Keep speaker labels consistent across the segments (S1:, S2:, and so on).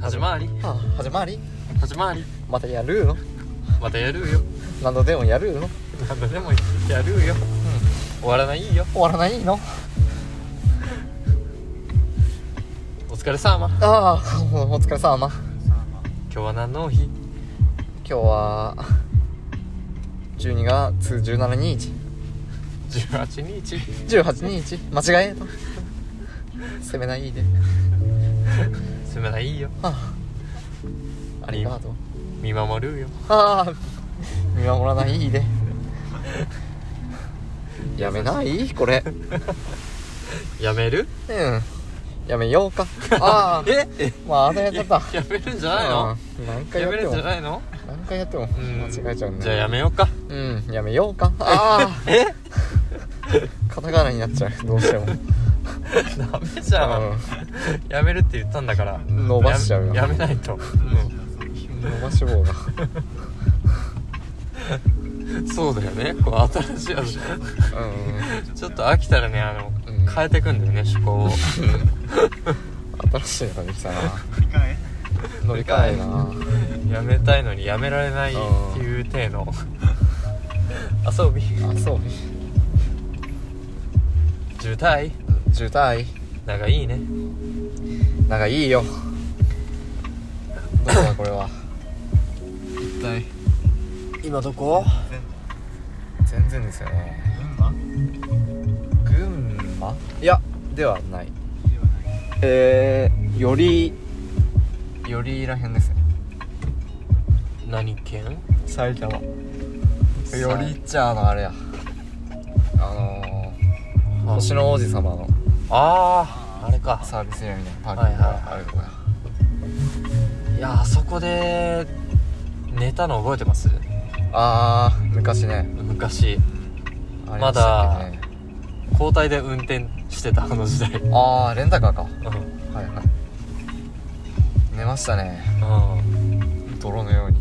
S1: 始まり
S2: あ始まり
S1: 始まり
S2: またやるの
S1: またやるよ
S2: 何度でもやるの
S1: 何度でもやるよ終わらないよ
S2: 終わらないの
S1: お疲れ様
S2: ああお疲れ様
S1: 今日は何の日
S2: 今日は12月17日
S1: 18日
S2: 18日間違えた攻めないで
S1: すめないよ
S2: ああありがとう
S1: 見守るよ
S2: ああ見守らないでやめないこれ
S1: やめる
S2: うんやめようかああ
S1: ええ
S2: まああのやっちゃった
S1: やめるんじゃないの
S2: うん何回
S1: や
S2: やっ
S1: め
S2: て
S1: るんじ
S2: も
S1: ゃないの
S2: 何回やっても
S1: うん
S2: 間違えちゃうんだ
S1: じゃあやめようか
S2: うんやめようかああ
S1: え
S2: カタカナになっちゃうどうしても
S1: ダメじゃんやめるって言ったんだから
S2: 伸ばしちゃうよ
S1: ややめないと
S2: 伸ばし棒が
S1: うんそうだよねこう新しいやつ
S2: う
S1: ちょっと飽きたらねあの
S2: うん
S1: 変えてくんだよね趣向を
S2: ん新しいのができたな乗り換えな
S1: やめたいのにやめられないっていう体の遊び
S2: あそう
S1: 渋滞
S2: 渋滞
S1: なんかいいね
S2: なんかいいよどこだこれは一体今どこ全然ですよね群馬いやではないえー、よりよりらへんですね
S1: 何県
S2: 埼玉よ
S1: さ
S2: りっちゃあのあれやあのー、
S1: あ
S2: 星の王子様の
S1: あああれか
S2: サービスエリアみたいなパーキングがあるとこや、
S1: いやあそこで寝たの覚えてます
S2: あー昔ね
S1: 昔
S2: ありましたっけね
S1: 交代で運転してたあの時代うん
S2: あーレンタカーか
S1: う
S2: はいはい寝ましたね
S1: ん
S2: 泥のように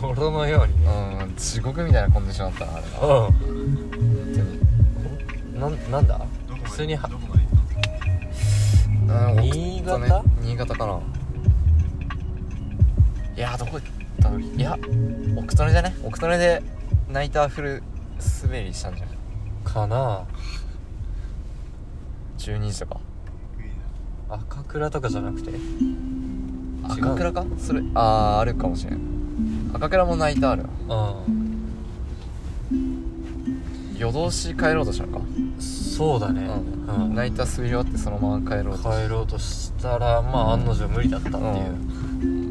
S1: 泥のようにね
S2: うん地獄みたいなコンディションだったなあれは
S1: う
S2: 本当に
S1: んなんなんだ普通には
S2: うん
S1: 新潟
S2: 送ったね新潟かないやーどこ行ったのいや奥利根じゃね奥利根でナイターフル滑りしたんじゃない
S1: かな
S2: 12時とか
S1: 赤倉とかじゃなくてう
S2: 赤倉かそれあああるかもしれん赤倉もナイターあるな
S1: う
S2: 夜通し帰ろうとしたのか、
S1: んそうだねうん
S2: ナイター滑り終わってそのまま帰ろうと
S1: 帰ろうとしたらまあ案の定無理だったっていう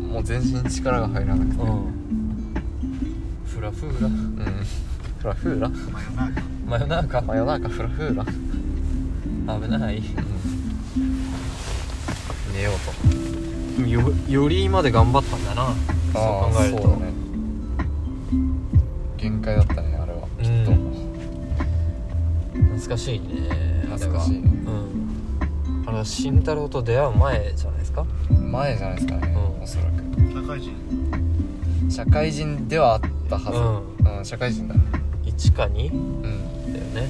S2: もう全身に力が入らなくて
S1: うん、フラフーラ
S2: うんフラフーラ
S1: 真夜中
S2: 真夜中フラフーラ
S1: 危ない
S2: 寝ようと
S1: よよりまで頑張ったんだなそう考えると
S2: そうだね限界だったねあれは
S1: うん
S2: きっと、
S1: 懐かしいね
S2: 懐かしいね
S1: あれはうんあれは慎太郎と出会う前じゃないですか
S2: 前じゃないですかね、
S1: うん
S2: おそらく社会人ではあったはず、うん社会人だ
S1: 1か2
S2: うん
S1: だよね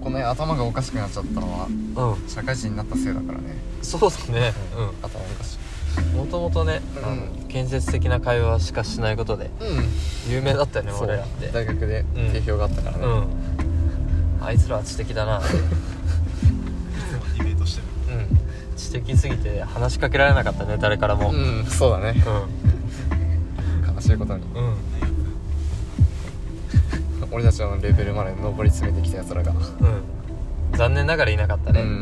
S2: このね頭がおかしくなっちゃったの
S1: う
S2: は
S1: ん
S2: 社会人になったせいだからね
S1: そうだねう
S2: 頭おかし
S1: ん
S2: い
S1: もともとね、あの
S2: う
S1: 建設的な会話しかしないことで
S2: うん
S1: 有名だったよね
S2: そう
S1: 俺らって
S2: 大学で
S1: うん
S2: 定評があったからね、
S1: うんあいつらは知的だなってうん知的すぎて話しかけられなかったね誰からもうん
S2: うん、そうだね悲しいことに
S1: うん
S2: 俺たちのレベルまで上り詰めてきたやつらが
S1: うん残念ながらいなかったね、
S2: う
S1: うん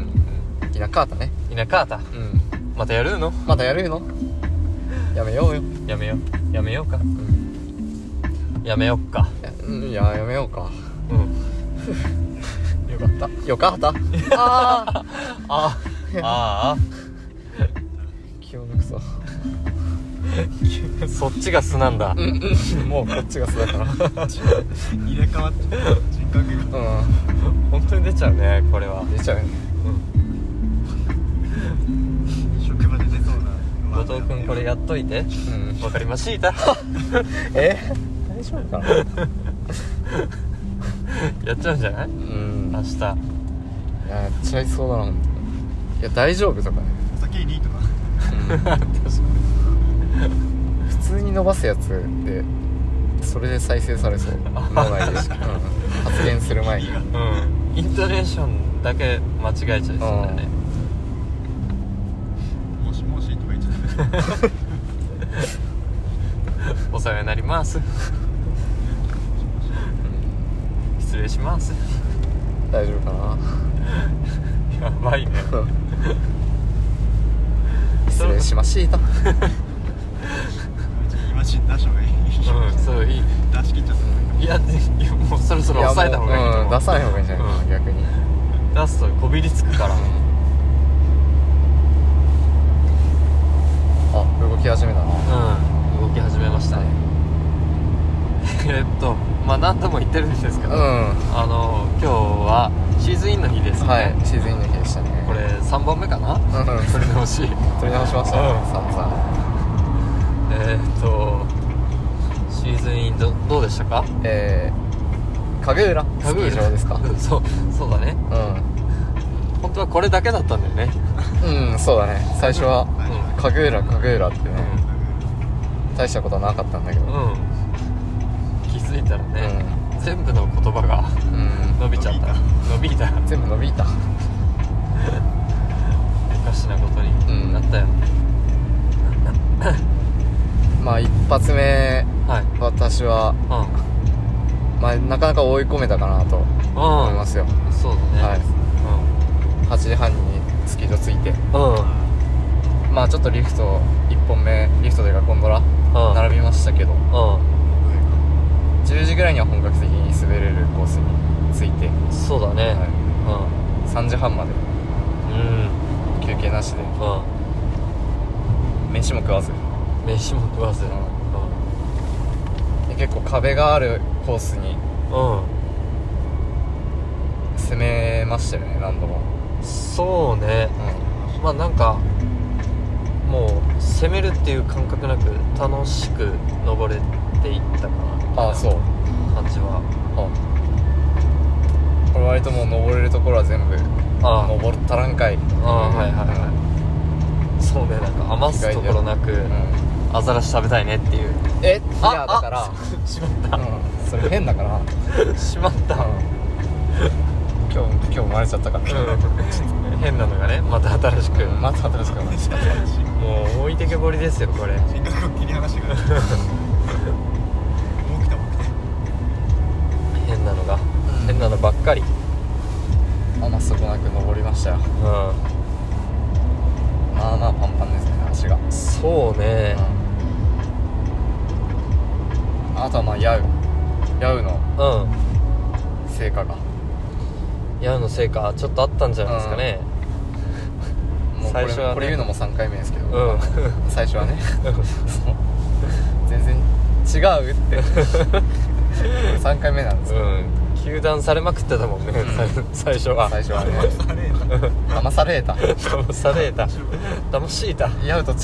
S1: ん
S2: いなかったね
S1: いなかった
S2: うん
S1: またやるの
S2: またやるのやめようよ
S1: やめようやめようかやめよっか
S2: いやうんいややめようか
S1: うん
S2: よかったよかったあ
S1: あ
S2: あ
S1: ああ
S2: 気を抜くぞ
S1: あそっちが素なんだ
S2: もうこっちが素だからう
S1: 本当に出ちゃうねこれは
S2: ん出ちゃうよね
S1: 後藤君これやっといて
S2: うん
S1: わかりま した
S2: え大丈夫かな
S1: やっちゃうんじゃないう明
S2: ん
S1: 日
S2: いややっちゃいそうだな本当にいや大丈夫とかねうん 普通に伸ばすやつってそれで再生されそう脳 内で、うん、発言する前に
S1: うんイントネーションだけ間違えちゃいそうだよね
S3: もしもしとか言っちゃダメ
S1: お世話になります失礼します
S2: 大丈夫か な
S1: やばいね
S2: 失礼しました
S3: 今し出した方がいい、
S1: うんそういい
S3: 出し切っちゃった方がいい
S1: いやいやもうそろそろ抑えた方がいいと
S2: や
S1: 思
S2: もうう
S1: うん
S2: 出さない方がいいんじゃないかな、
S1: うん
S2: 逆に
S1: 出すとこびりつくから
S2: あ動き始めたな
S1: うん動き始めましたねえっとまあ何度も言ってるんですけど、
S2: うん
S1: あの今日はシーズンインの日ですね、
S2: はいシーズンインの日でしたね
S1: これ3本目かな
S2: うん
S1: 撮り直し
S2: 撮り直しましたね、
S1: うん
S2: 散々
S1: えーっとシーズンインどどうでしたか
S2: えー、影浦スキー場ですか
S1: うんそうそうだね本当はこれだけだったんだよね、
S2: うん、うん、そうだね最初は
S1: うん
S2: 影浦影浦ってね、
S1: う
S2: 大したことはなかったんだけど
S1: ん、気づいたらね、全部の言葉が
S2: うん、
S1: 伸びちゃった伸びた
S2: 全部伸びた
S1: おかしなこと
S2: うん
S1: になったよ、
S2: まあ一発目
S1: はい
S2: 私は、
S1: う
S2: まあ、なかなか追い込めたかなと
S1: ん
S2: 思いますよ、
S1: うんそうだね
S2: はい8時半にスキー場着いて
S1: うん
S2: まあちょっとリフト1本目リフトというかゴンドラ
S1: うん
S2: 並びましたけど
S1: う
S2: 10時ぐらいには本格的に滑れるコースに着いて、
S1: んそうだね、
S2: は
S1: う
S2: い、3時半まで
S1: んうん
S2: 休憩なしで
S1: う
S2: 飯も食わず
S1: ん飯も食わず
S2: う
S1: うんん
S2: で結構壁があるコースに
S1: うん、
S2: 攻めましたよね何度も、
S1: そうね
S2: う
S1: まあなんかもう攻めるっていう感覚なく楽しく登れていったか
S2: ん、あ
S1: な
S2: あそう
S1: 感じは
S2: あこれ割ともう登れるところは全部
S1: ああ
S2: 登ったらんかい
S1: ああはいはいはいそうねなんか余すところなく
S2: うん
S1: アザラシ食べたいねって いう
S2: えい
S1: あ
S2: やだから
S1: あしまった
S2: うんそれ変だから
S1: しまった、
S2: 今日今日生まれちゃったから、
S1: うん、変なのがねまた新しく、
S2: また新しく生まれちゃった
S1: もう置いてけぼりですよこれ
S3: 進学を切り離してくださいもう来たもう来た
S1: 変なのが、
S2: ん
S1: 変なのばっかり
S2: 余すとこなく登りましたよ
S1: う
S2: まあまあパンパンですね足が、
S1: んそうね
S2: うんあとはまあヤウヤウの
S1: う
S2: 成果が
S1: ん矢の成果ちょっとあったんじゃないですかね
S2: もうこ
S1: 最
S2: れ,、
S1: 初はね
S2: これ言うのも3回目ですけど、
S1: うん、
S2: 最初はねそう全然違うって 3回目なんですけど
S1: うん、球団されまくってたもんね、
S2: うん
S1: 最最初は
S2: 最初はね
S3: あれなんか
S2: 騙された
S1: 騙され た騙しいた
S2: ヤウと違う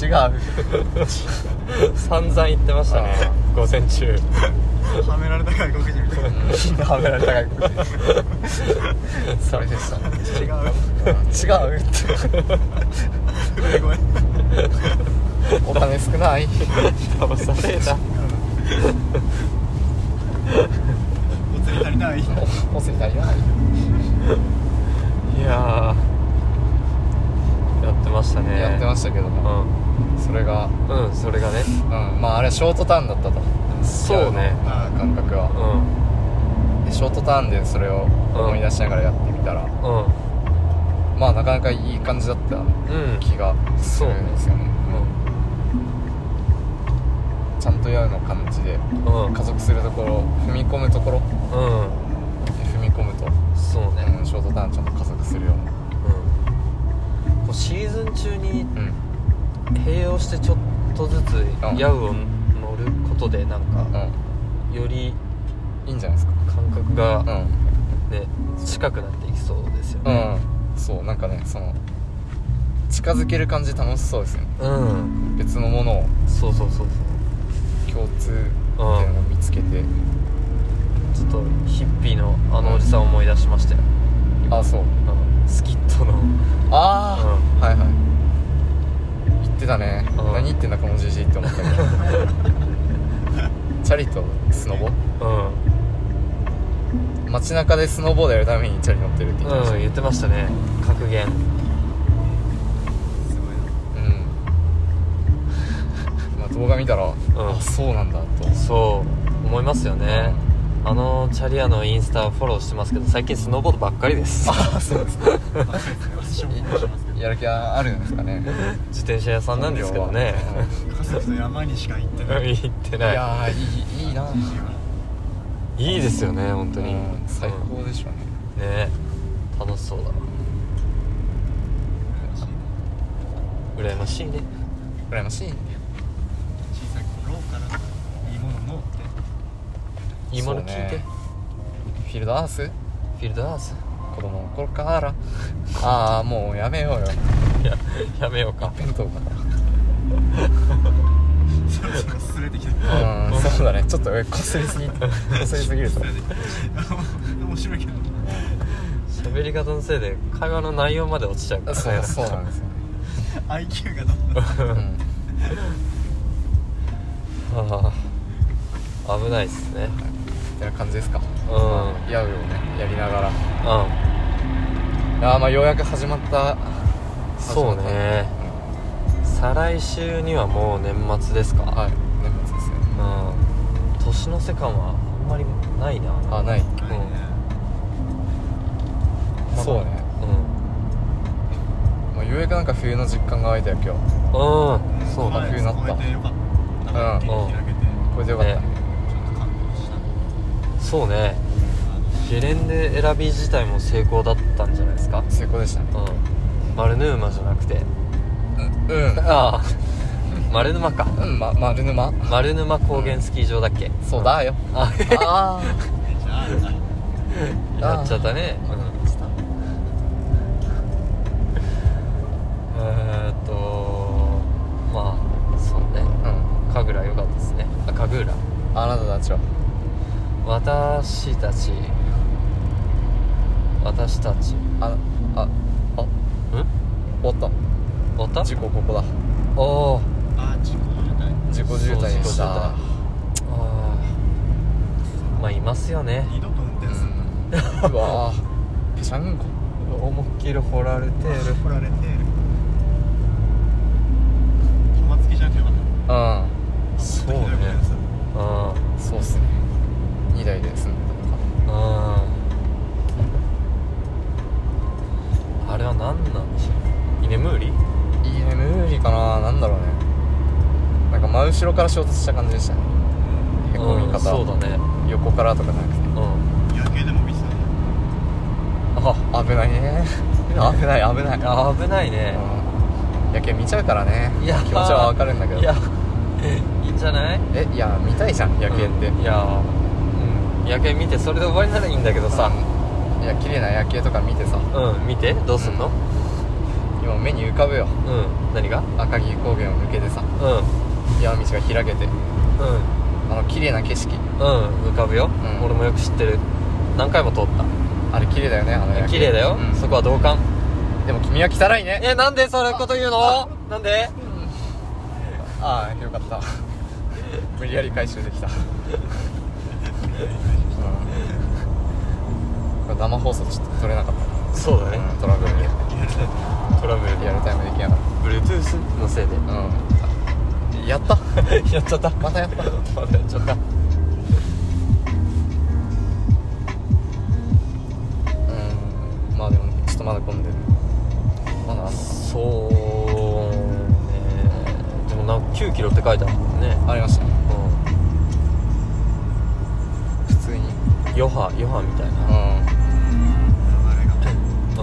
S1: 散々言ってましたね
S2: あ
S1: 午前中
S3: はめられた外国人みたいな
S2: はめられた外国人それでした
S3: 違う
S2: 違うって
S3: ごめんごめん
S2: お金少ない
S1: 騙された
S3: お釣り足りない
S2: おお釣り足りない
S1: いやーやってましたね
S2: やってましたけどもそれが、
S1: うん、うん、それがね
S2: うん、まああれショートターンだったと
S1: そうね
S3: あー
S2: 感覚
S1: う
S2: は
S1: ん
S2: でショートターンでそれを思い出しながらやってみたら
S1: うん
S2: まあなかなかいい感じだった
S1: うん
S2: 気がするんですよねちゃんとやるの感じで
S1: うん
S2: 加速するところ踏み込むところ
S1: う
S2: 踏み込むと、
S1: んそうね
S2: うん、ショートターンちゃんと加速するような
S1: もうシーズン中に
S2: うん
S1: 併用してちょっとずつ
S2: うん
S1: ヤウを乗ることでなんかより
S2: うんいいんじゃないですか
S1: 感覚が
S2: うん
S1: ね近くなっていきそうですよ
S2: う
S1: ね
S2: んそうなんかねその近づける感じ楽しそうですよね
S1: うん、
S2: 別のものを
S1: そうそうそうそう
S2: 共通点を見つけて、
S1: ちょっとヒッピーのあのおじさんを思い出しましたよ、
S2: あそう
S1: うん、スキットの
S2: ああ、はいはい言っ言ってたね
S1: うん
S2: 何言ってんだこのじじいって 思ったけどチャリとスノボ
S1: う
S2: 街中でスノーボードやるためにチャリ乗ってるって言ってまし
S1: ん、
S2: た
S1: うん、
S2: ね
S1: 言ってましたね格言
S3: すごい
S2: う
S3: な
S2: ん、まあ動画見たら、あそうなんだと
S1: そう思いますよねあのチャリアのインスタフォローしてますけど最近スノーボードばっかりです
S2: あそうですか
S3: まあそうですね私も思い出しますけど
S2: やる気はあるんですかね
S1: 自転車屋さんなんですけどね
S3: 家族と山にしか行ってない
S1: 行って
S2: いや
S1: な
S2: ーいいいいな
S3: じじいはい
S1: いいですよね本当に
S2: うん最高でしょうね、
S1: うんね楽しそうだ
S3: 羨ましいな
S1: 羨ましいね
S2: 羨ましい
S3: 小さい頃からいいもののって
S1: いいもの聞いて、
S2: そうねフィールドアース
S1: フィールドアース
S2: 子供の頃からああもうやめようよ
S1: いややめようか
S2: 弁当が
S3: それそれ擦れてきた
S2: うんそうだねちょっとえこすりすぎこすりすぎると
S3: 擦れてきた面白いけど
S1: 喋り方のせいで会話の内容まで落ちちゃうから、ね、
S2: そうそうなんですよ、
S3: IQ がどんどん
S2: うん、
S1: ああ危ないっすね
S2: ってな感じですか
S1: うんうん
S2: やうよねやりながらあーまあようやく始まった
S1: そうね再来週にはもう年末ですか
S2: うんはい年末ですよ
S1: うん年の瀬感はあんまりないな
S2: あない
S3: ないね
S2: そうね、まあ、ようやくなんか冬の実感が湧いたよ今
S1: うん
S2: 日
S1: うんそう
S2: だ
S1: だ
S2: 冬になった
S3: 超えてよかっ
S2: うん
S3: た元気に開けて
S2: これでよかったね
S1: ね
S3: ちょっと感動した
S1: そうねゲレンデ選び自体も成功だったんじゃないですか
S2: 成功でしたね
S1: うん丸ヌーマじゃなくて
S2: うんう
S1: ああ丸沼か
S2: ん、うん、ま丸沼
S1: 丸沼高原スキー場だっけ、
S2: そうだよ
S1: あ
S2: あ
S3: えじゃああ
S1: やっちゃったねうんえーっとまあそうね
S2: あ うん
S1: 神楽良かったですねあ神楽
S2: あなたたちは
S1: 私たち私たち
S2: あああ
S1: ん
S2: おった
S1: おった
S2: 事故ここだ
S1: おお
S3: あ事故じゃない
S2: 事故渋滞で
S1: そう
S2: した
S1: 事故渋滞あーまあいますよね
S3: 二度と運
S2: う
S3: 転するなん
S2: うわーぺしゃんこ
S1: 思いっきり掘られてる
S3: 掘られて玉突きじゃなくてよかっ
S2: うん
S3: た
S1: そうね
S3: もっとひどいことやってた
S1: うん
S2: そうっすね2台で住んでたのか
S1: うんあれは何なんでしょう居眠り
S2: いいね無理かななんだろうねなんか真後ろから衝突した感じでしたねへこみ
S1: うん、
S2: 方、
S1: そうだね
S2: 横からとかじゃなくて
S1: うん
S3: 夜景でも見てたね
S1: あ
S2: 危ないね危ない危ない
S1: あ危ないね
S2: うん夜景見ちゃうからね
S1: いや
S2: 気持ちはわかるんだけど
S1: いやいいんじゃない
S2: えいや見たいじゃん夜景って、
S1: うんいやうん夜景見てそれで終わりならいいんだけどさ
S2: うんいや綺麗な夜景とか見てさ
S1: うん見てどうすんの
S2: 今目に浮かぶよ
S1: うん何が
S2: 赤城高原を抜けてさ
S1: うん
S2: 山道が開けて
S1: う
S2: あの綺麗な景色
S1: んうん浮かぶよ、
S2: うん
S1: 俺もよく知ってる何回も通った
S2: あれ綺麗だよねあの夜景
S1: 綺麗だよ、
S2: うん
S1: そこは同感
S2: でも君は汚いね
S1: えなんでそれこと言うのなんで
S2: ああよかった 無理やり回収できたうんこれ生放送ちょっと撮れなかっ
S1: そうだ
S2: た、
S1: ね、
S2: うん、トラブルで
S3: リアルタイム
S1: トラブル
S2: リアルタイムできなかっ
S1: Bluetooth のせいで
S2: たうんやった
S1: やっちゃった
S2: またやった
S1: またやっちゃった
S2: うんまあでもちょっとまだ混んでるまだあんの
S1: そうねでもなんか9キロって書いてあるもんね
S2: ありました
S1: う
S2: 普通にうん
S1: ん余波余波みたいな
S3: あれが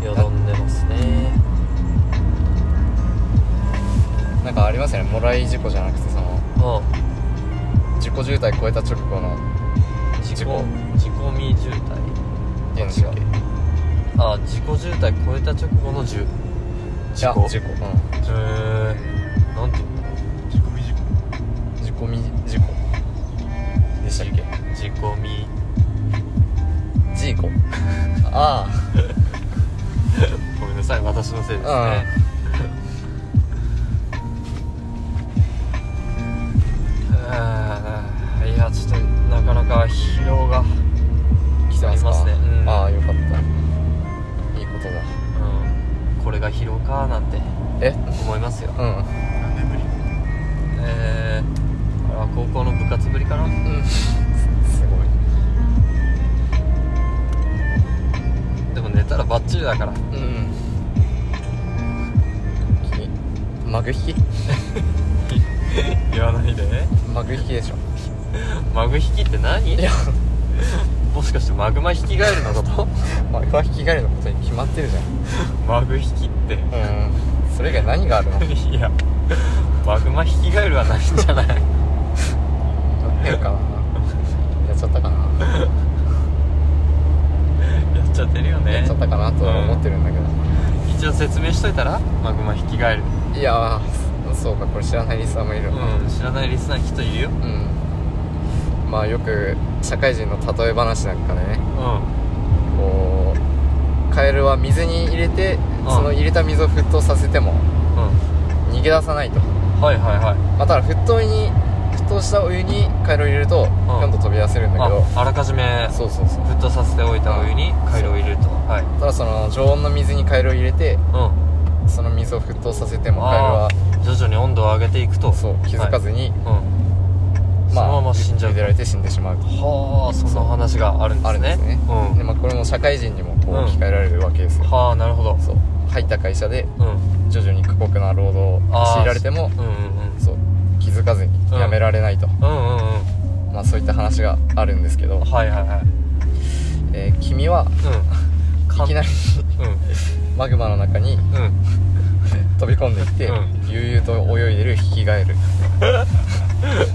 S1: うんよどんでますね
S2: なんかありますよねもらい事故じゃなくてその
S1: うん
S2: 自己渋滞超えた直後の
S1: 自
S2: 事
S1: 己
S2: 故
S1: 自己身渋滞
S2: 電池がい
S1: あ自己渋滞超えた直後の10
S2: や
S1: 事故
S2: 事故
S1: へえなんて言うんだろう
S3: 事故未事故
S2: うん事故み事故でしたっけ
S1: 自己身
S2: ジーコ ああ
S1: ごめんななさい私のせいですね あーいやちょっとなかなか疲労が
S2: 来てます
S1: あります
S2: か
S1: ねうん
S2: ああよかったいいことだ
S1: うんこれが疲労かなんて
S2: え
S1: 思いますよ
S2: うん
S3: 何年ぶり
S1: えー、これは高校の部活ぶりかな
S2: うん すごい
S1: でも寝たらバッチリだから
S2: うんきマグ引き
S1: 言わないで
S2: マグ引きでしょ
S1: マグ引きって何
S2: いや
S1: もしかしてマグマ引きガエルのこと
S2: マグは引き返るのことに決まってるじゃん
S1: マグ引きって
S2: うんそれ以外何があるの
S1: いやマグマ引きガエルはないんじゃ ない
S2: やってるかなやっちゃったかな
S1: やっちゃってるよね
S2: やっちゃったかなとは思ってるんだけど、
S1: 一応説明しといたらマグマ引きガエル
S2: いやーそうかこれ知らないリスナーもいるの
S1: うん知らないリスナーきっといるよ
S2: うん、まあよく社会人の例え話なんかでね
S1: うん
S2: こうカエルは水に入れて
S1: うん
S2: その入れた水を沸騰させても
S1: う
S2: 逃げ出さないと、
S1: んはいはいはい
S2: まあ、ただ沸騰に沸騰したお湯にカエルを入れるとぴょんと飛び出せるんだけど、
S1: ああらかじめ
S2: そうそうそう
S1: 沸騰させておいたお湯に回路を入れるとはい
S2: ただその常温の水にカエルを入れて
S1: う
S2: その水を沸騰させて
S1: ん
S2: もカエルは
S1: 徐々に温度を上げていくと
S2: そう気づかずに、
S1: はいうんそ
S2: まあ
S1: のまま死んじゃう
S2: 茹でられて死んでしまうと
S1: はあそんな話があるんですね
S2: あるんですね、
S1: う
S2: で
S1: ん
S2: まあ、これも社会人にもこう
S1: うん
S2: 置き換えられるわけですよ、
S1: はあなるほど
S2: そう入った会社で
S1: うん
S2: 徐々に過酷な労働を
S1: あー
S2: 強いられても
S1: うんうんうん
S2: そう気づかずに
S1: うん
S2: やめられないと、
S1: うんうんうん
S2: まあ、そういった話があるんですけど、
S1: はいはいはい
S2: えー君は
S1: うんか
S2: い
S1: ん
S2: きなりマグマの中に
S1: うんうん
S2: 飛び込んできて、
S1: うん
S2: 悠々と泳いでるヒキガエル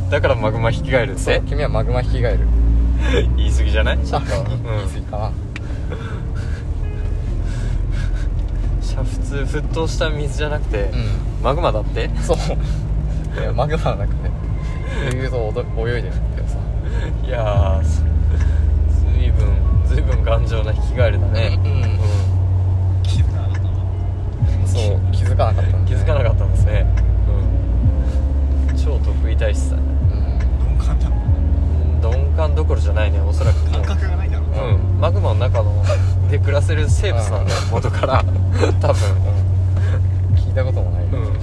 S1: だからマグマ引き返るっ
S2: そう
S1: て
S2: 君はマグマヒキガエル
S1: 言い過ぎじゃない
S2: シャーク
S1: うん
S2: 言い過ぎかな、
S1: シャ普通沸騰した水じゃなくて、
S2: う
S1: マグマだって
S2: んそういやマグマの中で悠々とおど泳いでるんだけどさ
S1: いやーそずいぶんずいぶん頑丈な引き返りだね
S2: うん
S3: 気づかなかったな
S2: そう気づかなかったんだよ
S1: 気
S2: ね
S1: づかなかったんですね、うん、超得意体質だね
S3: 鈍感だ
S1: うん鈍感どころじゃないねおそらくもう
S3: 感覚がないだろうな
S1: うんマグマの中ので暮らせる生物なんだよ元から 多分
S2: うん聞いたこともない、
S1: うん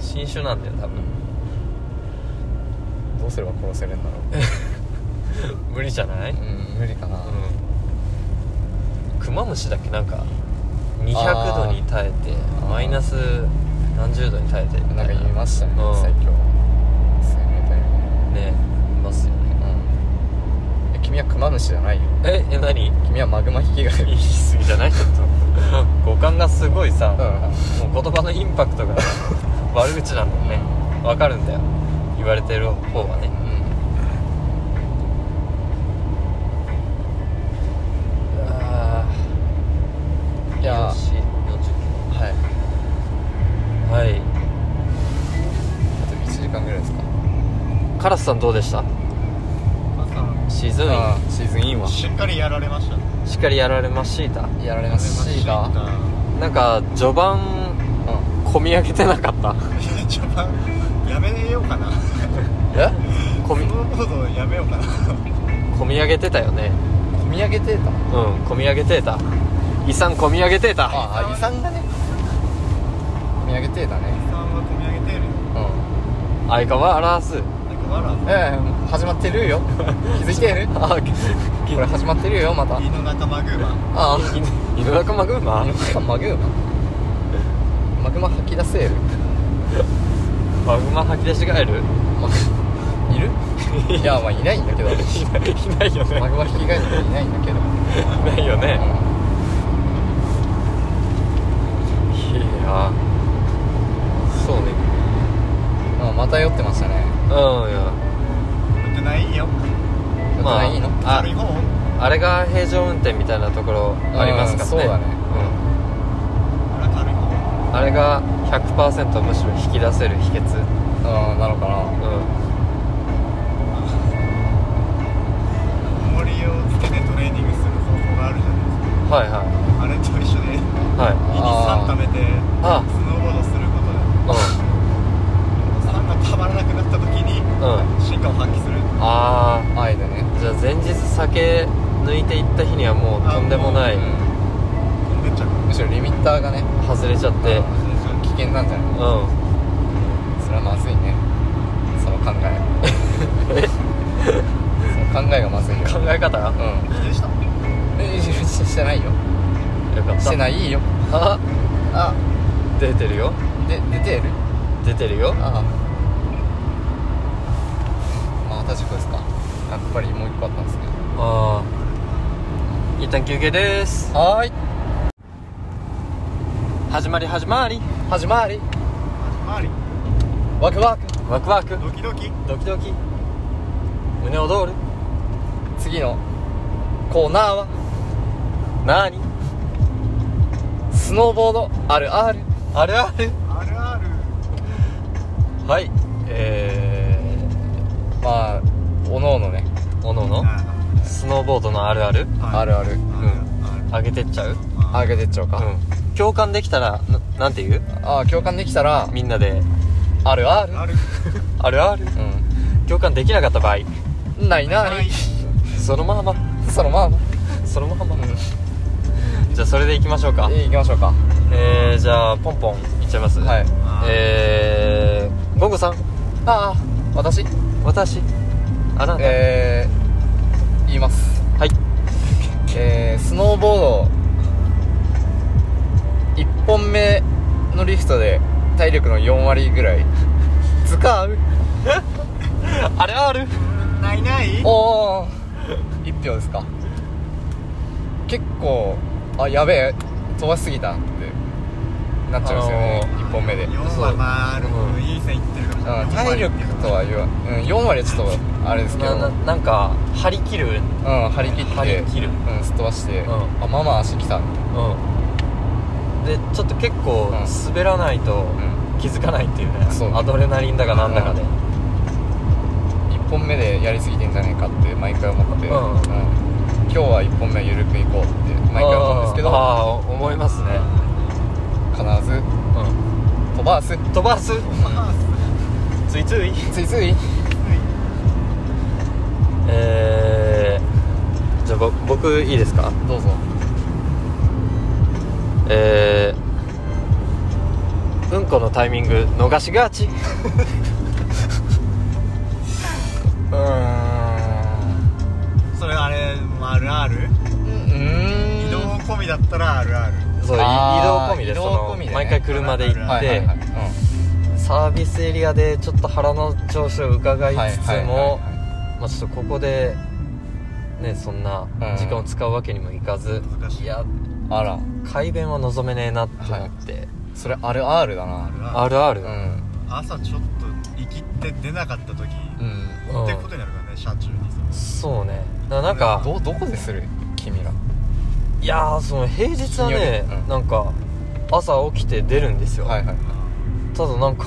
S1: 新種なんだよ多分
S2: どうすれば殺せるんだろ、
S1: 無理じゃないう
S2: うん、無理かな、
S1: うんクマムシだっけなんか200度に耐えて
S2: あー
S1: マイナス何十度に耐えてみ
S2: な
S1: た
S2: ん
S1: い
S2: か
S1: な
S2: 言いましたね、
S1: うん
S2: 最強生命体ね
S1: ねいますよね
S2: うんえ君はクマムシじゃないよ
S1: ええ何
S2: 君はマグマヒキガエル
S1: 言い過ぎじゃないちょ っと五感がすごいさ、
S2: う
S1: もう言葉のインパクトが 悪口なんだよねわかるんだよ言われてる方はねあ
S2: いや
S1: 日吉40キ
S2: はい
S1: ロはい
S2: あと1時間ぐらいですか
S1: カラスさんどうでした
S3: ま
S1: シーズンイ
S2: ああシーズンインは
S3: たしっかりやられましたや
S1: ンしっかりやられました
S2: やられますしが
S1: なんか序盤込み上げてなかった
S3: 序盤やめようかな
S2: え
S1: 込み
S3: スノーボードやめようかな
S1: 込み上げてたよね
S2: 込み上げてた
S1: うん込み上げてた遺産込み上げてた
S2: ああ遺産がね込み上げてたね
S3: さんは込み上げてる
S2: うん
S1: 相変わらず
S3: なんかわら
S2: ええ始まって るよ気づいてるこ
S1: あ
S2: れ始まってるよまた
S3: 胃の中マグーマ
S2: ああ
S1: 井の中マグマ
S2: マグママグマ吐き出せる
S1: マグマ吐き出しガエル
S2: マグいるいやまあいないんだけど
S1: いないいないよね
S2: マグマ引き返っていないんだけど、
S1: いないよね
S2: う
S1: いやそうね
S2: んまあ、また酔ってましたね
S1: うんいや
S3: 売ってないよ
S2: まあいいの
S1: あ
S3: 軽い方あ
S1: あれが平常運転みたいなところありますからね
S2: うんそうだね
S3: ら軽い方
S1: うんあれが100%むしろ引き出せる秘訣
S2: うんなのかな
S1: う
S3: 重りをつけてトレーニングする方法があるじゃないです
S1: んはいは
S3: かあれと一緒で
S1: は
S3: 胃に酸溜めて
S1: いあ
S3: スノーボードすることで
S1: う
S3: 酸がたまらなくなった時に
S1: んうん
S3: 進化を発揮する
S1: あ
S2: 愛だね
S1: あじゃあ前日酒抜いていった日にはもうとんでもな
S3: はい
S2: うん
S3: 飛んでっちゃう
S2: むしろリミッターがね
S1: 外れちゃって
S2: あ危険なんじゃない
S1: うん
S2: それはまずいねその考えその考えがまずいよ
S1: 考え方よ
S2: う
S1: か
S2: ん
S3: 否定した
S2: えしししてないよ
S1: った
S2: してないよ
S1: あ
S2: あ
S1: 出てるよ
S2: で出てる
S1: 出てるよ
S2: ああまた事故ですかやっぱりもう一個あったんですけど
S1: ああ一旦休憩です
S2: はーい
S1: 始まり始まり
S2: 始まり
S3: 周り
S2: ワクワク
S1: ワクワク
S3: ドキドキ
S1: ドキドキ胸躍る
S2: 次のコーナーは
S1: なーに
S2: スノーボードあるある
S1: あるある
S3: あるある
S1: はいえ
S2: まあおのおのね
S1: ー、おのおの
S3: あ
S1: スノーボードのあるある
S2: あるある
S3: うん
S1: 上げてっちゃう
S2: あげてっちゃおうか、
S1: うん共感できたらななんて言う
S2: ああ共感できたら
S1: みんなで
S2: あるある
S3: ある
S1: あるある
S2: う
S1: 共感できなかった場合
S2: んないない
S3: ない
S1: そのまま
S2: そのまあま
S1: そのまま
S2: あ、
S1: じゃあそれでいきましょうか
S2: え行きましょうか
S1: えー、じゃあポンポンいっちゃいます
S2: はい
S1: えー、ゴンゴさん
S2: ああ私
S1: 私あなた、
S2: えー、言います
S1: はい
S2: えー、スノーボード1本目のリフトで体力の4割ぐらい使う
S1: あれある
S3: ないない
S2: おお1票ですか結構あやべえ飛ばしすぎたってなっちゃいますよね、
S1: あのー
S2: 1本目で
S3: 4
S2: そう
S3: はまあでもいい線いってるかもしれな
S2: う
S3: い
S2: ん体力とは言わ、うん、4割はちょっとあれですけど
S1: なななんか張り切る
S2: うん張り切って
S1: 張り切る
S2: うん、すっ飛ばして、
S1: うん
S2: あママ足きた、うん、
S1: うんでちょっと結構
S2: うん
S1: 滑らないと気づかないっていうね、
S2: そう
S1: アドレナリンだかなんだかで、
S2: うん1本目でやりすぎてんじゃねえかって毎回思って、
S1: うん
S2: 今日は1本目は緩くいこうって毎回思うんですけ
S1: あー
S2: ど
S1: あー思いますね、
S2: 必ず
S1: う
S2: 飛ばす
S1: ん、飛ばす
S3: まあ
S1: ついつい
S2: ついつい
S1: えー、じゃあぼ僕いいですか
S2: どうぞ
S1: えー、うんこのタイミング逃しがち
S2: うーん
S3: それあれあるある
S2: うん
S3: 移動込みだったらあるある
S1: そうい移動
S2: あー
S1: 込みで
S2: 移動込みで
S1: そ
S2: ね
S1: の毎回車で行って、
S2: はいはいはいうん
S1: サービスエリアでちょっと腹の調子を伺い
S2: はい
S1: つつ
S2: はい
S1: も
S2: はい
S1: まあちょっとここでねそんな時間を使うわけにもいかず、
S3: 難しい
S1: いや
S2: あら
S1: 改便は望めねえなって思って、
S2: それあるあるだな
S1: あるある、
S2: うん
S3: 朝ちょっと生きって出なかった時
S2: うん
S1: うん
S3: 持ってくことになるからね車中にさ
S1: そうねななんか
S2: どどこでする君ら
S1: いやーその平日はね、
S2: 金曜日うん
S1: なんか朝起きて出るんですよ、
S2: はいはい
S1: ただなんか
S2: う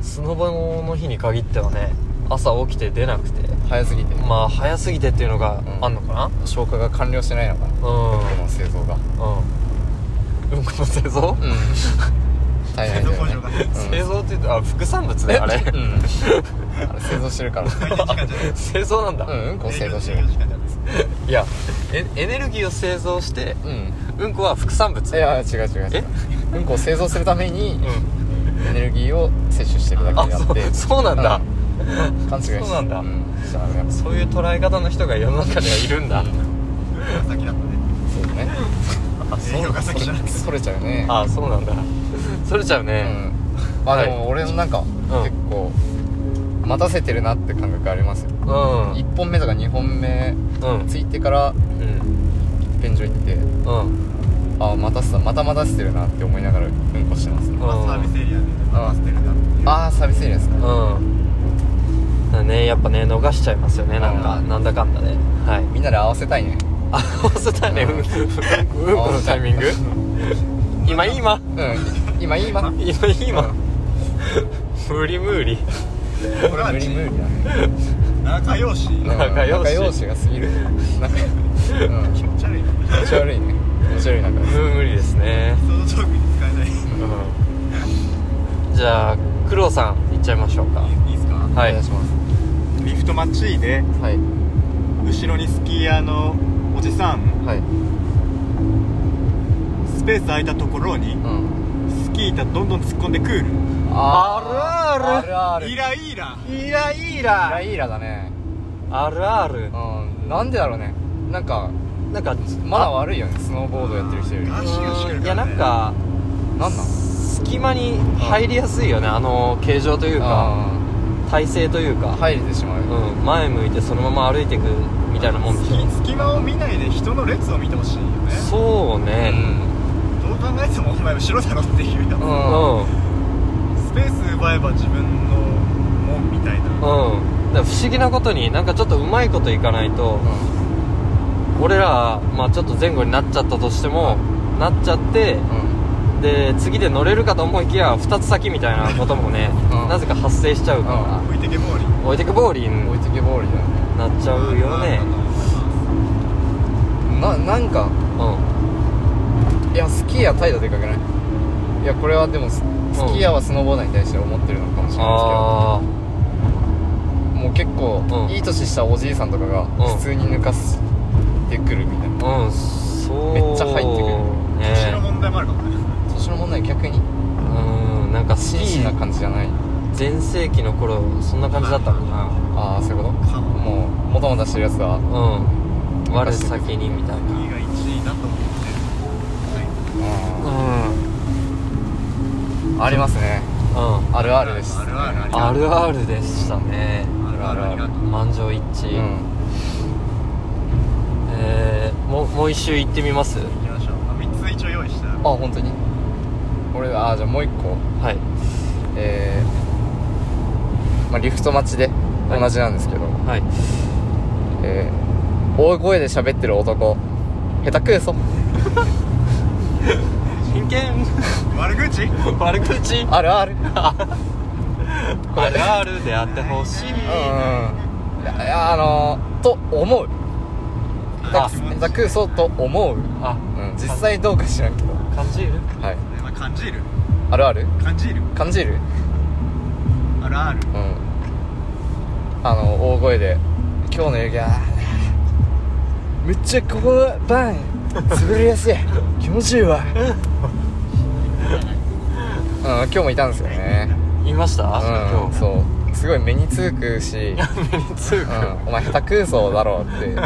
S2: ん
S1: スノボの日に限ってはね朝起きて出なくて
S2: 早すぎて
S1: まあ早すぎてっていうのが
S2: うん
S1: あんのか
S2: 消化が完了してないのかな
S1: なうん
S2: この製造が
S1: うんうんこの製造、
S2: うん大変だよね
S3: 製造工場がね
S2: うん
S1: 製造って言うとあ副産物ねあれ
S2: うんあれ製造してるから
S3: 回転時間じ ゃない
S1: 製造なんだ、
S2: うんうんこを製造して
S3: 営
S2: る
S3: 業時間じゃないです
S1: いやえエネルギーを製造して
S2: うん
S1: うんこは副産物
S2: いや違う違う違う
S1: え
S2: うんこを製造するために
S1: うん
S2: エネルギーを摂取してるだ
S1: あ
S2: けであって
S1: そうそうなんだ、
S2: うん勘違いして
S1: そうなんだ
S2: しちゃダメだ
S1: そういう捉え方の人が世の中にはいるんだ、
S3: 営業が先だったね
S2: そうね
S1: あそう
S3: 営業が先じゃなくて
S2: それちゃうね
S1: あそうなんだ それちゃう
S2: う
S1: ね、
S2: んあ
S1: はい
S2: でも俺のなんか結構待たせてるなって感覚ありますよ
S1: うんうん
S2: 1本目とか2本目
S1: うん
S2: ついてから便所行って
S1: うん
S2: あ待たせたまた待たせてるなって思いながらうんこしてます
S1: う
S2: ね
S1: ん
S3: まあサービスエリアで回してるなっていう
S2: ああサービスエリアですか
S1: うんだねやっぱね逃しちゃいますよねなんか
S2: うん
S1: なんだかんだではい
S2: みんなで合わせたいね
S1: あ合わせたねう
S2: うんん
S1: うんこのタイミング今今
S2: うん今
S1: 今
S2: 今
S1: 今無理無理
S2: これ無理無理だね
S3: 仲良し
S1: 仲良し
S2: 仲良しが過ぎるなんかうん
S3: 気持ち悪いな
S2: 気持ち悪いね面白いなんかです
S1: 無無理ですね、
S3: そのトークに使えないい
S1: じゃあ工藤さんいっちゃいましょうか
S3: いですか
S1: は
S2: お願いします
S3: リフトマッチいで
S2: はい
S3: 後ろにスキーヤーのおじさん
S2: はい
S3: スペース空いたところに
S2: うん
S3: スキー板どんどん突っ込んでくる
S1: あるある
S2: あるある
S3: イライラ
S1: イライ
S2: イラ
S1: ラ
S2: イラだね
S1: あるある
S2: うんなんでだろうねなんか
S1: なんか
S2: まだ悪いよねスノーボードやってる人より
S3: あ
S2: なん
S3: 足がしっかり
S1: いやなんか
S2: なん
S1: 隙間に入りやすいよねあの形状というか
S2: あ
S1: 体勢というか、
S2: ー入れてしまうよ
S1: うん、前向いてそのまま歩いていくみたいなもんでしょ
S3: 隙隙間を見ないで人の列を見てほしいよね
S1: そう
S2: う
S1: ね
S2: ん
S3: どう考えてもお前後ろだろっていうよ
S1: うん
S2: うん
S3: スペース奪えば自分のもんみたいな
S1: うんだから不思議なことになんかちょっとうまいこといかないと、俺ら、まあ、ちょっと前後になっちゃったとしても、なっちゃってで次で乗れるかと思いきや2つ先みたいなこともね、
S2: うん
S1: なぜか発生しちゃうか
S3: 置いてけぼり
S1: ら、置いてくボーリ
S2: う
S1: ン
S2: ん置いてけぼりだよね
S1: なっちゃうよね
S2: ななん
S1: う
S2: かいやスキーヤー態度でかくないいやこれはでもススキーヤーはスノーボーダーに対して思ってるのかもし
S1: ん
S2: れな
S1: あ
S2: いですけどもう結構、
S1: うん
S2: いい年したおじいさんとかが
S1: ん
S2: 普通に抜かしてくるみたいな
S1: あうんそう
S2: めっちゃ入ってくる
S3: 年の
S1: ね
S3: 問題もあるかもね
S2: 年の問題逆に
S1: うんなんかス
S2: 真
S1: キ
S2: 摯な
S1: ー
S2: 感じじゃない
S1: 全盛期の頃そんな感じだったのか
S2: ああそういうこと
S3: かも
S2: もうもたもたしてるやつだうん
S1: なうん我先にみたいな
S3: 2が1位だと思っては
S2: ありますね
S1: うんうん
S2: あるあるです
S3: あるあるある
S1: あるあるでしたね
S3: いあるあるありがとう
S1: 満場一致、
S2: うん
S1: えー、もうもう一周行ってみます
S3: 行きましょうあ3つ一応用意した
S2: あ本当に俺ああじゃあもう一個
S1: はい
S2: えーまあ、リフト待ちで
S1: はい
S2: 同じなんですけど、
S1: はい
S2: えー大声で喋ってる男下手くそ
S1: 真剣
S3: 悪口
S1: 悪口
S2: あるあるうん
S1: あるあるであってほしい
S2: いやあのーと思う
S1: あ
S2: 下手くそと思う、う
S1: あ
S2: ん、実際どうか知らんけど
S1: 感じる
S2: はい
S3: まあ感じる
S2: あるある
S3: 感じる
S2: 感じる
S3: あるある
S2: うんあの大声で今日の雪はめっちゃここのバン滑りや すい気持ちいいわうん今日もいたんですよね
S1: 言いました、
S2: うん
S1: 今日
S2: そうすごい目につくし、うん、
S1: 目につく、
S2: お前下手くそだろって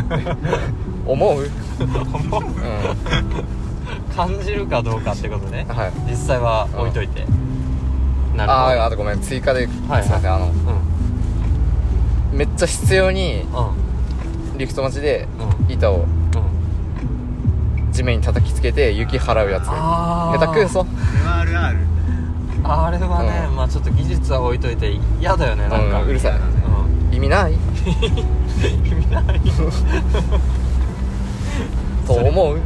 S2: 思う、うん、
S1: 感じるかどうかってことね
S2: はい
S1: 実際は置いといて、な
S2: ああーあ
S1: る
S2: とごめん追加で、
S1: はい
S2: すいませんあの
S1: ほど
S2: めっちゃ必要に
S1: うん
S2: リフト待ちで
S1: うん
S2: 板を
S1: うんうん
S2: 地面に叩きつけて雪払うやつ
S1: あー
S2: 下手くそ
S3: あれはあるあ
S1: あれ
S3: る
S1: はね、
S2: うん
S1: まあちょっと技術は置いといて嫌だよねなんか、
S2: うんうるさい
S1: うん
S2: 意味ない
S1: 意味ない
S2: と思う、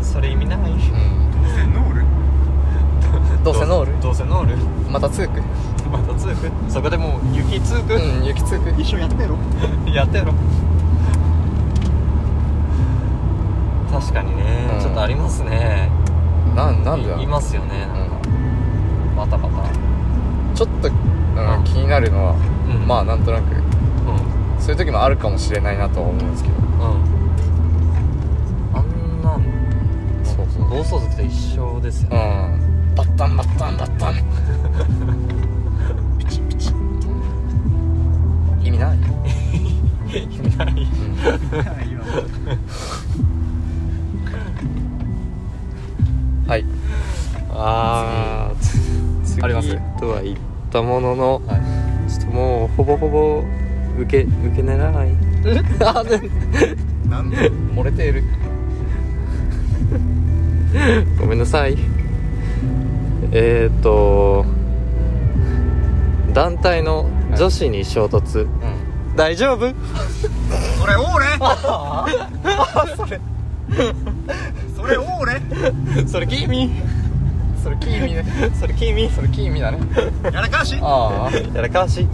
S1: それ意味ない
S2: うん、
S3: セノール
S2: どうせノール
S1: どうせノール
S2: またツーク
S1: また通くそこでもう雪通く、
S2: うん雪ツーク
S3: 一緒やって ろ
S1: やってろ確かにね、
S2: うん
S1: ちょっとありますね
S2: なんなんだ
S1: いいますよねなんか、バタバタ
S2: ちょっと、うん
S1: うん
S2: 気になるのは、
S1: ん
S2: まあなんとなく
S1: う
S2: そういう時もあるかもしれないなとは思うんですけど
S1: んうんあんな
S2: そうそう
S1: 暴走族と一緒ですよ
S2: う
S1: ね、
S2: んバッタンバッタンバッタン
S3: ピチピチ
S2: 意味ない、
S1: 意味ない
S2: はい
S1: ああ
S2: 次あります
S1: とは言ったものの
S2: はい
S1: ちょっともうほぼほぼ受け受け狙わない
S2: あで
S3: なんで
S2: 漏れている
S1: ごめんなさいえっ、ー、と団体の女子に衝突、
S2: うん
S1: 大丈夫
S3: それオ ーレそれオー レ
S1: それ君
S2: それキーミね
S1: それ君
S2: それキーミだね
S3: やらかし
S2: ああ
S1: やらかわし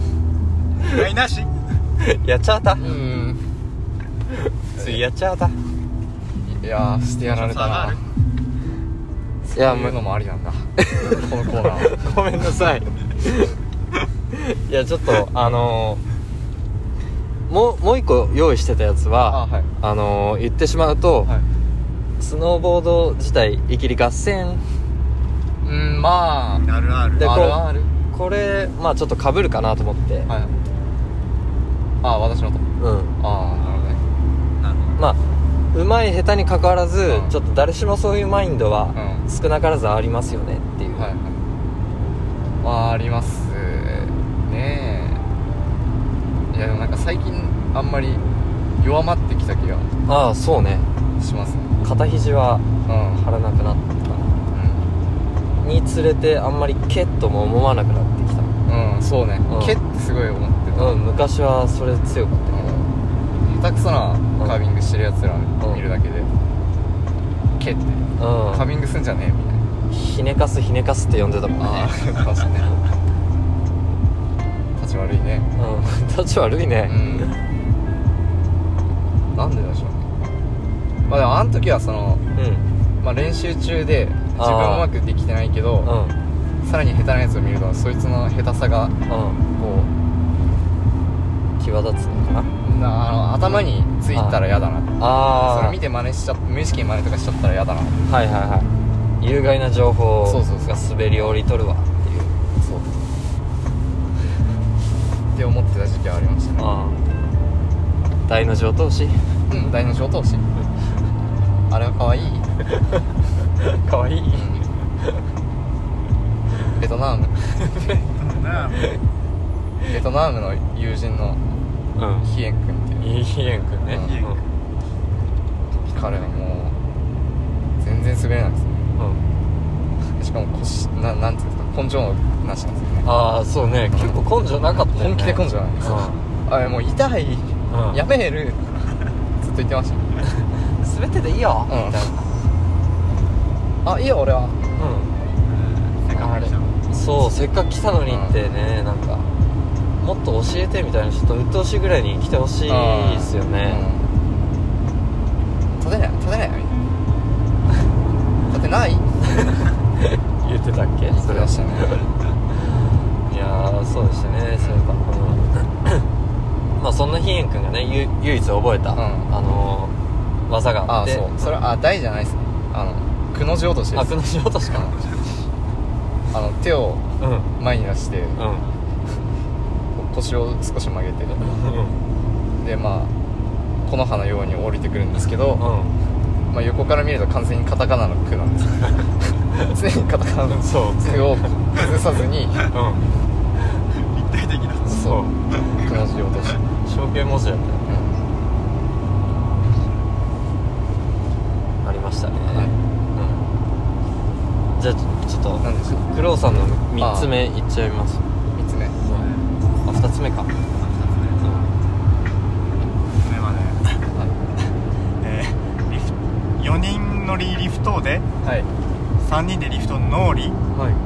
S3: やいなし
S1: やっちゃった
S2: うん
S1: ついやっちゃった
S2: いいやーしてやられたな
S1: いや
S2: そういうのもありなんだこのコーナーは
S1: ごめんなさいいやちょっとあのーもうもう一個用意してたやつは
S2: あはい
S1: あのー言ってしまうと、
S2: はい
S1: スノーボード自体いきり合戦
S2: うんまあ
S3: あるある
S1: でこう
S2: あるある
S1: これまあちょっとかぶるかなと思って、
S2: はいああ私のと
S1: うん
S2: ああなるほどね
S3: なる
S1: まあうまい下手にかかわらず、
S2: うん
S1: ちょっと誰しもそういうマインドは
S2: うん
S1: 少なからずありますよねっていう、
S2: はいはいまあありますねえいやでもなんか最近あんまり弱まってきた気が
S1: ああそうね
S2: しますね
S1: 肩肘は
S2: うん
S1: 張らなくなったかなにつれてあんまりケッとも思わなくなってきた
S2: うん、うん、そうね
S1: うん
S2: けってすごい思ってた
S1: うん昔はそれ強かっ
S2: うん下手くそなカービングしてるやつら見るだけでけって
S1: たうん
S2: カービングすんじゃねえみたいな
S1: ひねかすひねかすって呼んでたもん
S2: あ
S1: ね
S2: あ確かに立ち悪いね
S1: うん 立ち悪いうね
S2: んなんででしょうねまあでもあの時はその、
S1: うん
S2: まあ、練習中で自分うまくできてないけ
S1: うん
S2: どさらに下手なやつを見るとそいつの下手さが
S1: うん
S2: こ
S1: 際立つのかな
S2: うなあの頭についたら嫌だな
S1: ああ
S2: それ見て真似しちゃ無意識に真似とかしちゃったら嫌だな
S1: はいはいはい有害な情報
S2: そうそうそう
S1: が滑り降りとるわっていう
S2: そうって思ってた時期はありましたね
S1: ああ大の上等し
S2: うん大の小投資あれは可愛い
S1: かわいい
S2: ベトナム
S3: ほどな
S2: ベトナムの友人の
S1: う
S2: ヒエン君っていうん
S1: いいひえんくんね
S2: うん彼はもう全然滑れないんですね
S1: うんうん
S2: しかも腰ななんていうんですか根性なしなんですよね
S1: ああそうね結構根性なかったよね
S2: 本気で根性ないんですよあれもう痛い
S1: うん
S2: やめるずっと言ってました
S1: 滑ってていいよ
S2: うん
S1: みたい
S2: あいいよ俺は
S1: なうん
S3: せっかく来たの
S1: そうせっかく来たのにってねなんかもっと教えてみたいなちょっと鬱陶しいぐらいに来てほしい
S2: い
S1: ですよね、
S2: 立てない立てない立てない
S1: 言ってたっけ
S2: それ出したね
S1: いやーそうでしたねそういえば、うん まあそんなひえんくんがねゆ唯一覚えた、
S2: うん
S1: あのー、技が
S2: あ
S1: あ
S2: あ
S1: って
S2: そうそれあ大じゃないですねあのくの字落としで
S1: あ
S2: す
S1: くの字落としかな
S2: あの手を
S1: うんうん
S2: 前に出して
S1: う
S2: 腰を少し曲げて
S1: ん
S2: でまあ木の葉のように降りてくるんですけど、まあ、横から見ると完全にカタカナの「く」なんです常にカタカナの「
S1: そう
S2: く」を崩さずに
S1: う
S3: 立体的だ
S1: ん そう
S2: くの字落とし
S1: 証券模試やったよ
S2: うん
S1: ありましたね、
S2: い
S1: うんじゃあちょっと
S2: 何でしょう
S1: クロウさんの3つ目いっちゃいます
S2: 3つ目
S1: あ二2つ目か
S3: 目までえーリフ4人乗りリフトで
S2: はい
S3: 3人でリフト乗
S1: はい
S3: り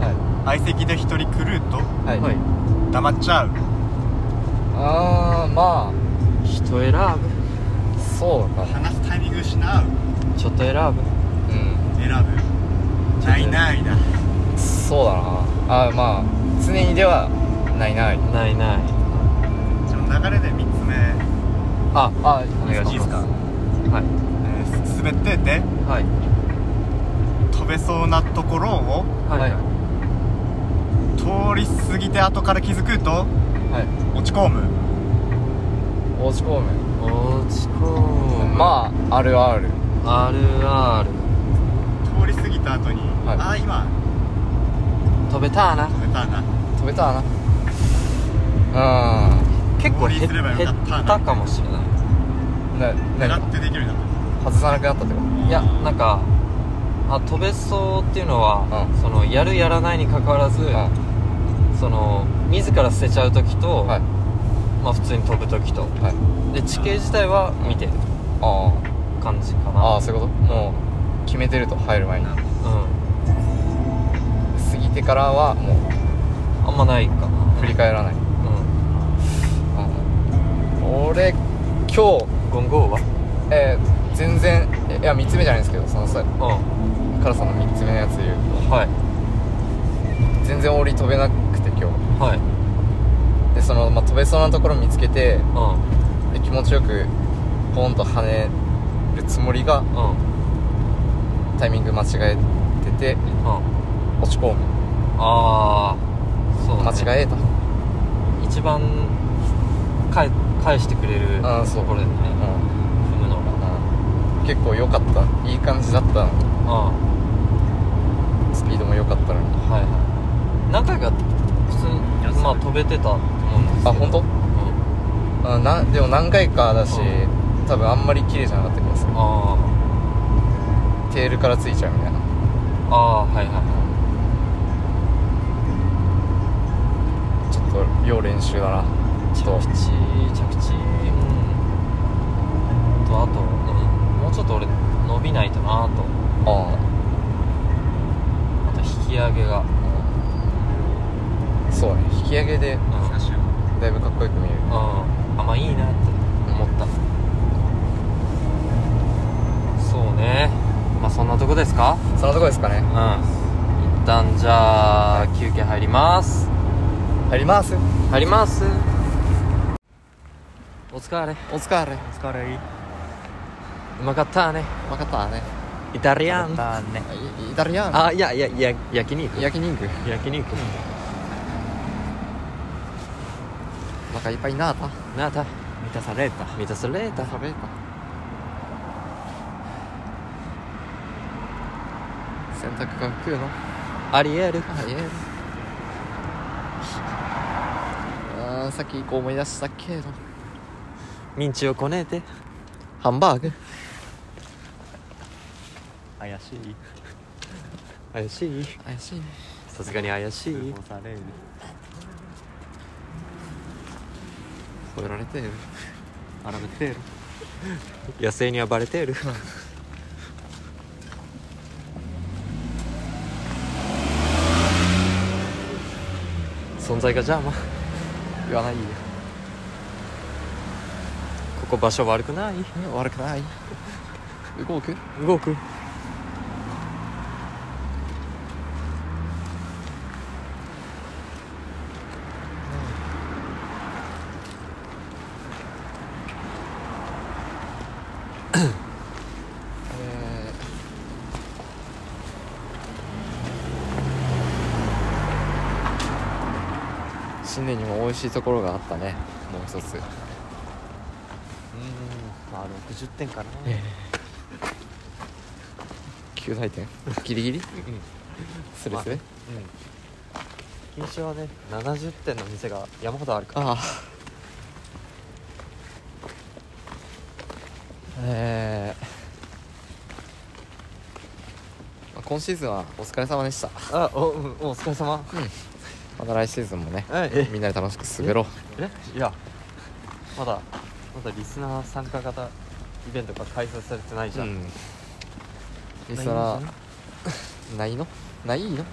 S2: は
S3: 相席で1人クルーと
S2: いはい、
S1: はい
S3: 黙っちゃう
S2: ああま
S1: 人選
S2: あそうだな
S3: 話すタイミング失う
S1: ぶちょっと選ぶ
S2: う
S3: 選ぶないないだ
S2: んそうだなあーまあ常にではないな
S1: ないない
S3: その流れで3つ目、
S2: ああお願い
S3: いい
S2: し
S3: で
S2: ますす
S3: か
S1: はい
S3: えーす滑ってて
S1: はい
S3: 飛べそうなところを
S1: はい
S3: 通り過ぎて後から気づくと
S2: はい
S3: 落ち込む
S2: 落ち込む
S1: 落ち込む
S2: まああるある
S1: あ RR
S3: 通り過ぎた後に、
S2: はい
S3: ああ今
S1: 飛べたな
S3: 止めたな
S2: 飛べたなう
S1: 結構
S3: 合流
S1: 減
S3: すればよか
S1: 減
S3: ったな
S1: ったかもしれない
S2: んな
S3: 狙
S2: 何
S3: ってできるな
S2: 外さなくなったってこ
S1: いやなんかあ飛べそうっていうのは、
S2: うん
S1: そのやるやらないにかかわらず、
S2: とは
S1: その自ら捨てちゃう時と、
S2: いはい
S1: まあ普通に飛ぶ時と
S2: はい
S1: で地形自体は見てる
S2: あ
S1: 感じか
S2: ああ
S1: な
S2: あそういうこともう決めてると入る前に過
S1: う
S2: ぎてからはもうん
S1: あんまないかな
S2: 振り返らない
S1: うん
S2: あー俺今日
S1: ゴンゴーは
S2: えー全然いや3つ目じゃないんですけどそのさ辛さの3つ目のやつ
S1: う
S2: 言う
S1: んはい
S2: と全然檻飛べなくて今日
S1: はい
S2: でその、まあ、飛べそうなところ見つけて
S1: う
S2: で気持ちよくポンと跳ねるつもりが
S1: んうん
S2: タイミング間違えてて
S1: うん
S2: 落ち込む
S1: ああそうだ、
S2: 間
S1: ね、
S2: 違えた
S1: 一番かえ返してくれる
S2: あーそう
S1: ところでね
S2: うん、
S1: 踏むのが
S2: うん、結構良かったいい感じだったの
S1: あ
S2: スピードも良かったのに
S1: はいはい何回か普通にまあ飛べてたと思うんですけど
S2: あ本当？
S1: うん、
S2: うんなでも何回かだし
S1: う
S2: 多分あんまり綺麗じゃなかった気がする
S1: あ
S2: テールからついちゃうみたいな
S1: あああーはいはいはい
S2: ちょっと要練習だなちょっ
S1: 着
S2: と
S1: 地着地うんとあとねもうちょっと俺伸びないとなと
S2: あ
S1: あと引き上げが
S2: あそうね引き上げで
S1: うん
S2: だいぶかっこよく見える
S1: うんあまあいいなって思ったそうねまあそんなとこですか
S2: そのとこですかね
S1: うん一旦じゃあ休憩入ります
S2: 入ります
S1: 入りますお疲れ
S2: お疲れ
S3: お疲れ
S1: うまかったね
S2: 分かったね
S1: イタリア
S3: ま
S1: ン
S3: たね
S2: イイタリアン
S1: あいやいやいや焼肉
S2: 焼肉
S1: 焼肉
S2: お腹いっぱいになった
S1: なた
S3: 満たされた
S1: 満たされた
S2: 食べた洗濯が食うの
S1: ありえる
S2: あいえあーさっき一個思い出したけど
S1: ミンチをこねて
S2: ハンバーグ
S3: 怪しい
S1: 怪しい
S2: 怪しいね
S1: さすがに怪しい
S3: 通報される
S2: 吠えられてる
S3: 荒ぶってる
S1: 野生にはバレてる存在が邪魔こ
S2: 言わないで
S1: こ場所悪くない
S2: うん悪くない動く
S1: 動く
S2: えー新年にも美味しいところがあったねもう一つ
S1: うんまあ60点かな
S2: 9大点ギリギリスレスレ
S1: 錦糸はね70点の店が山ほどあるから
S2: ああえーまあ今シーズンはお疲れ様でした
S1: あお,、うん、お疲れ様
S2: また来シーズンもね
S1: はい
S2: みんなで楽しく滑ろう
S1: えいやまだまだリスナー参加型イベントが開催されてないじゃん、
S2: うんリスナーないのないの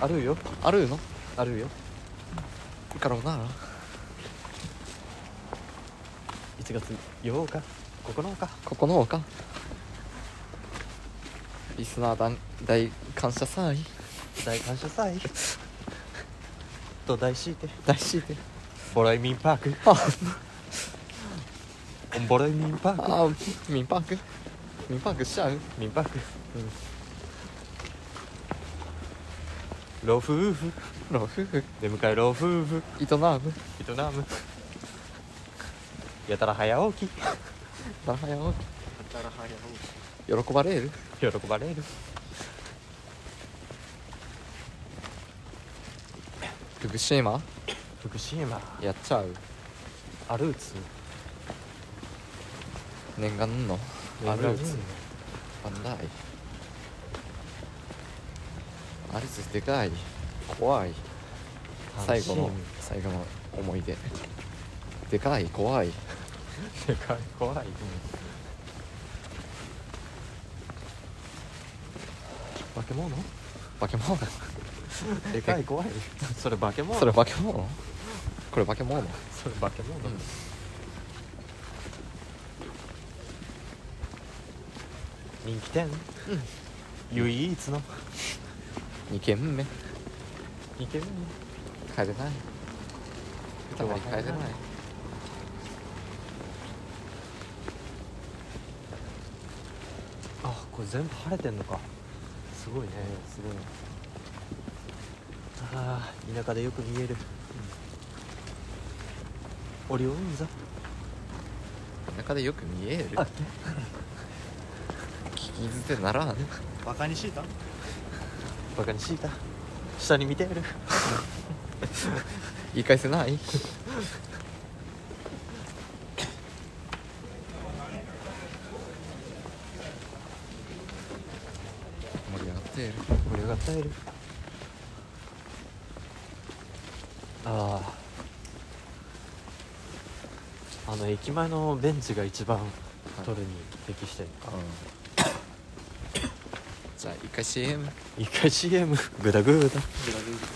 S1: あるよ
S2: あるの
S1: あるよ
S2: いいからもなら
S1: 1月8日9日
S2: 9日リスナー団大感謝祭
S1: 大感謝 祭と題して
S2: 大シーテ
S1: ボライミンパーク
S2: あ
S1: ボライミンパーク
S2: あ民パーク民パークしちゃう
S1: ミンパーク老夫婦
S2: 老夫婦
S1: 出迎え老夫婦
S2: 営む
S1: 営むやたら早起き
S2: なはや喜ばれる
S1: 喜ばれる
S2: 福島
S1: 福島
S2: やっちゃう
S1: アルーツ
S2: 念願のアルーツバンダイアルーツでかい怖い最後の最後の思い出でかい怖い
S1: でかい怖い化け物
S2: 化け物
S1: でかい怖い それ化け物
S2: それ化け物これ化け物
S1: それ化け物、
S2: うん
S1: 人気店、唯一の
S2: 2軒目
S1: 2軒目
S2: 帰れない今日は帰れない
S1: あこれ全部晴れてんのかすごいねすごいああ田舎でよく見える、オリオン座
S2: 中でよく見える聞き捨てならん
S3: バカにしいた
S1: バカにしいた下に見てやる
S2: 言い返せない盛り上がっている
S1: 盛り上がったいるあああの駅前のベンチが一番取るに適してるのか、
S2: じゃあ一回 CM
S1: 一回 CM グダグダ
S3: グラグラ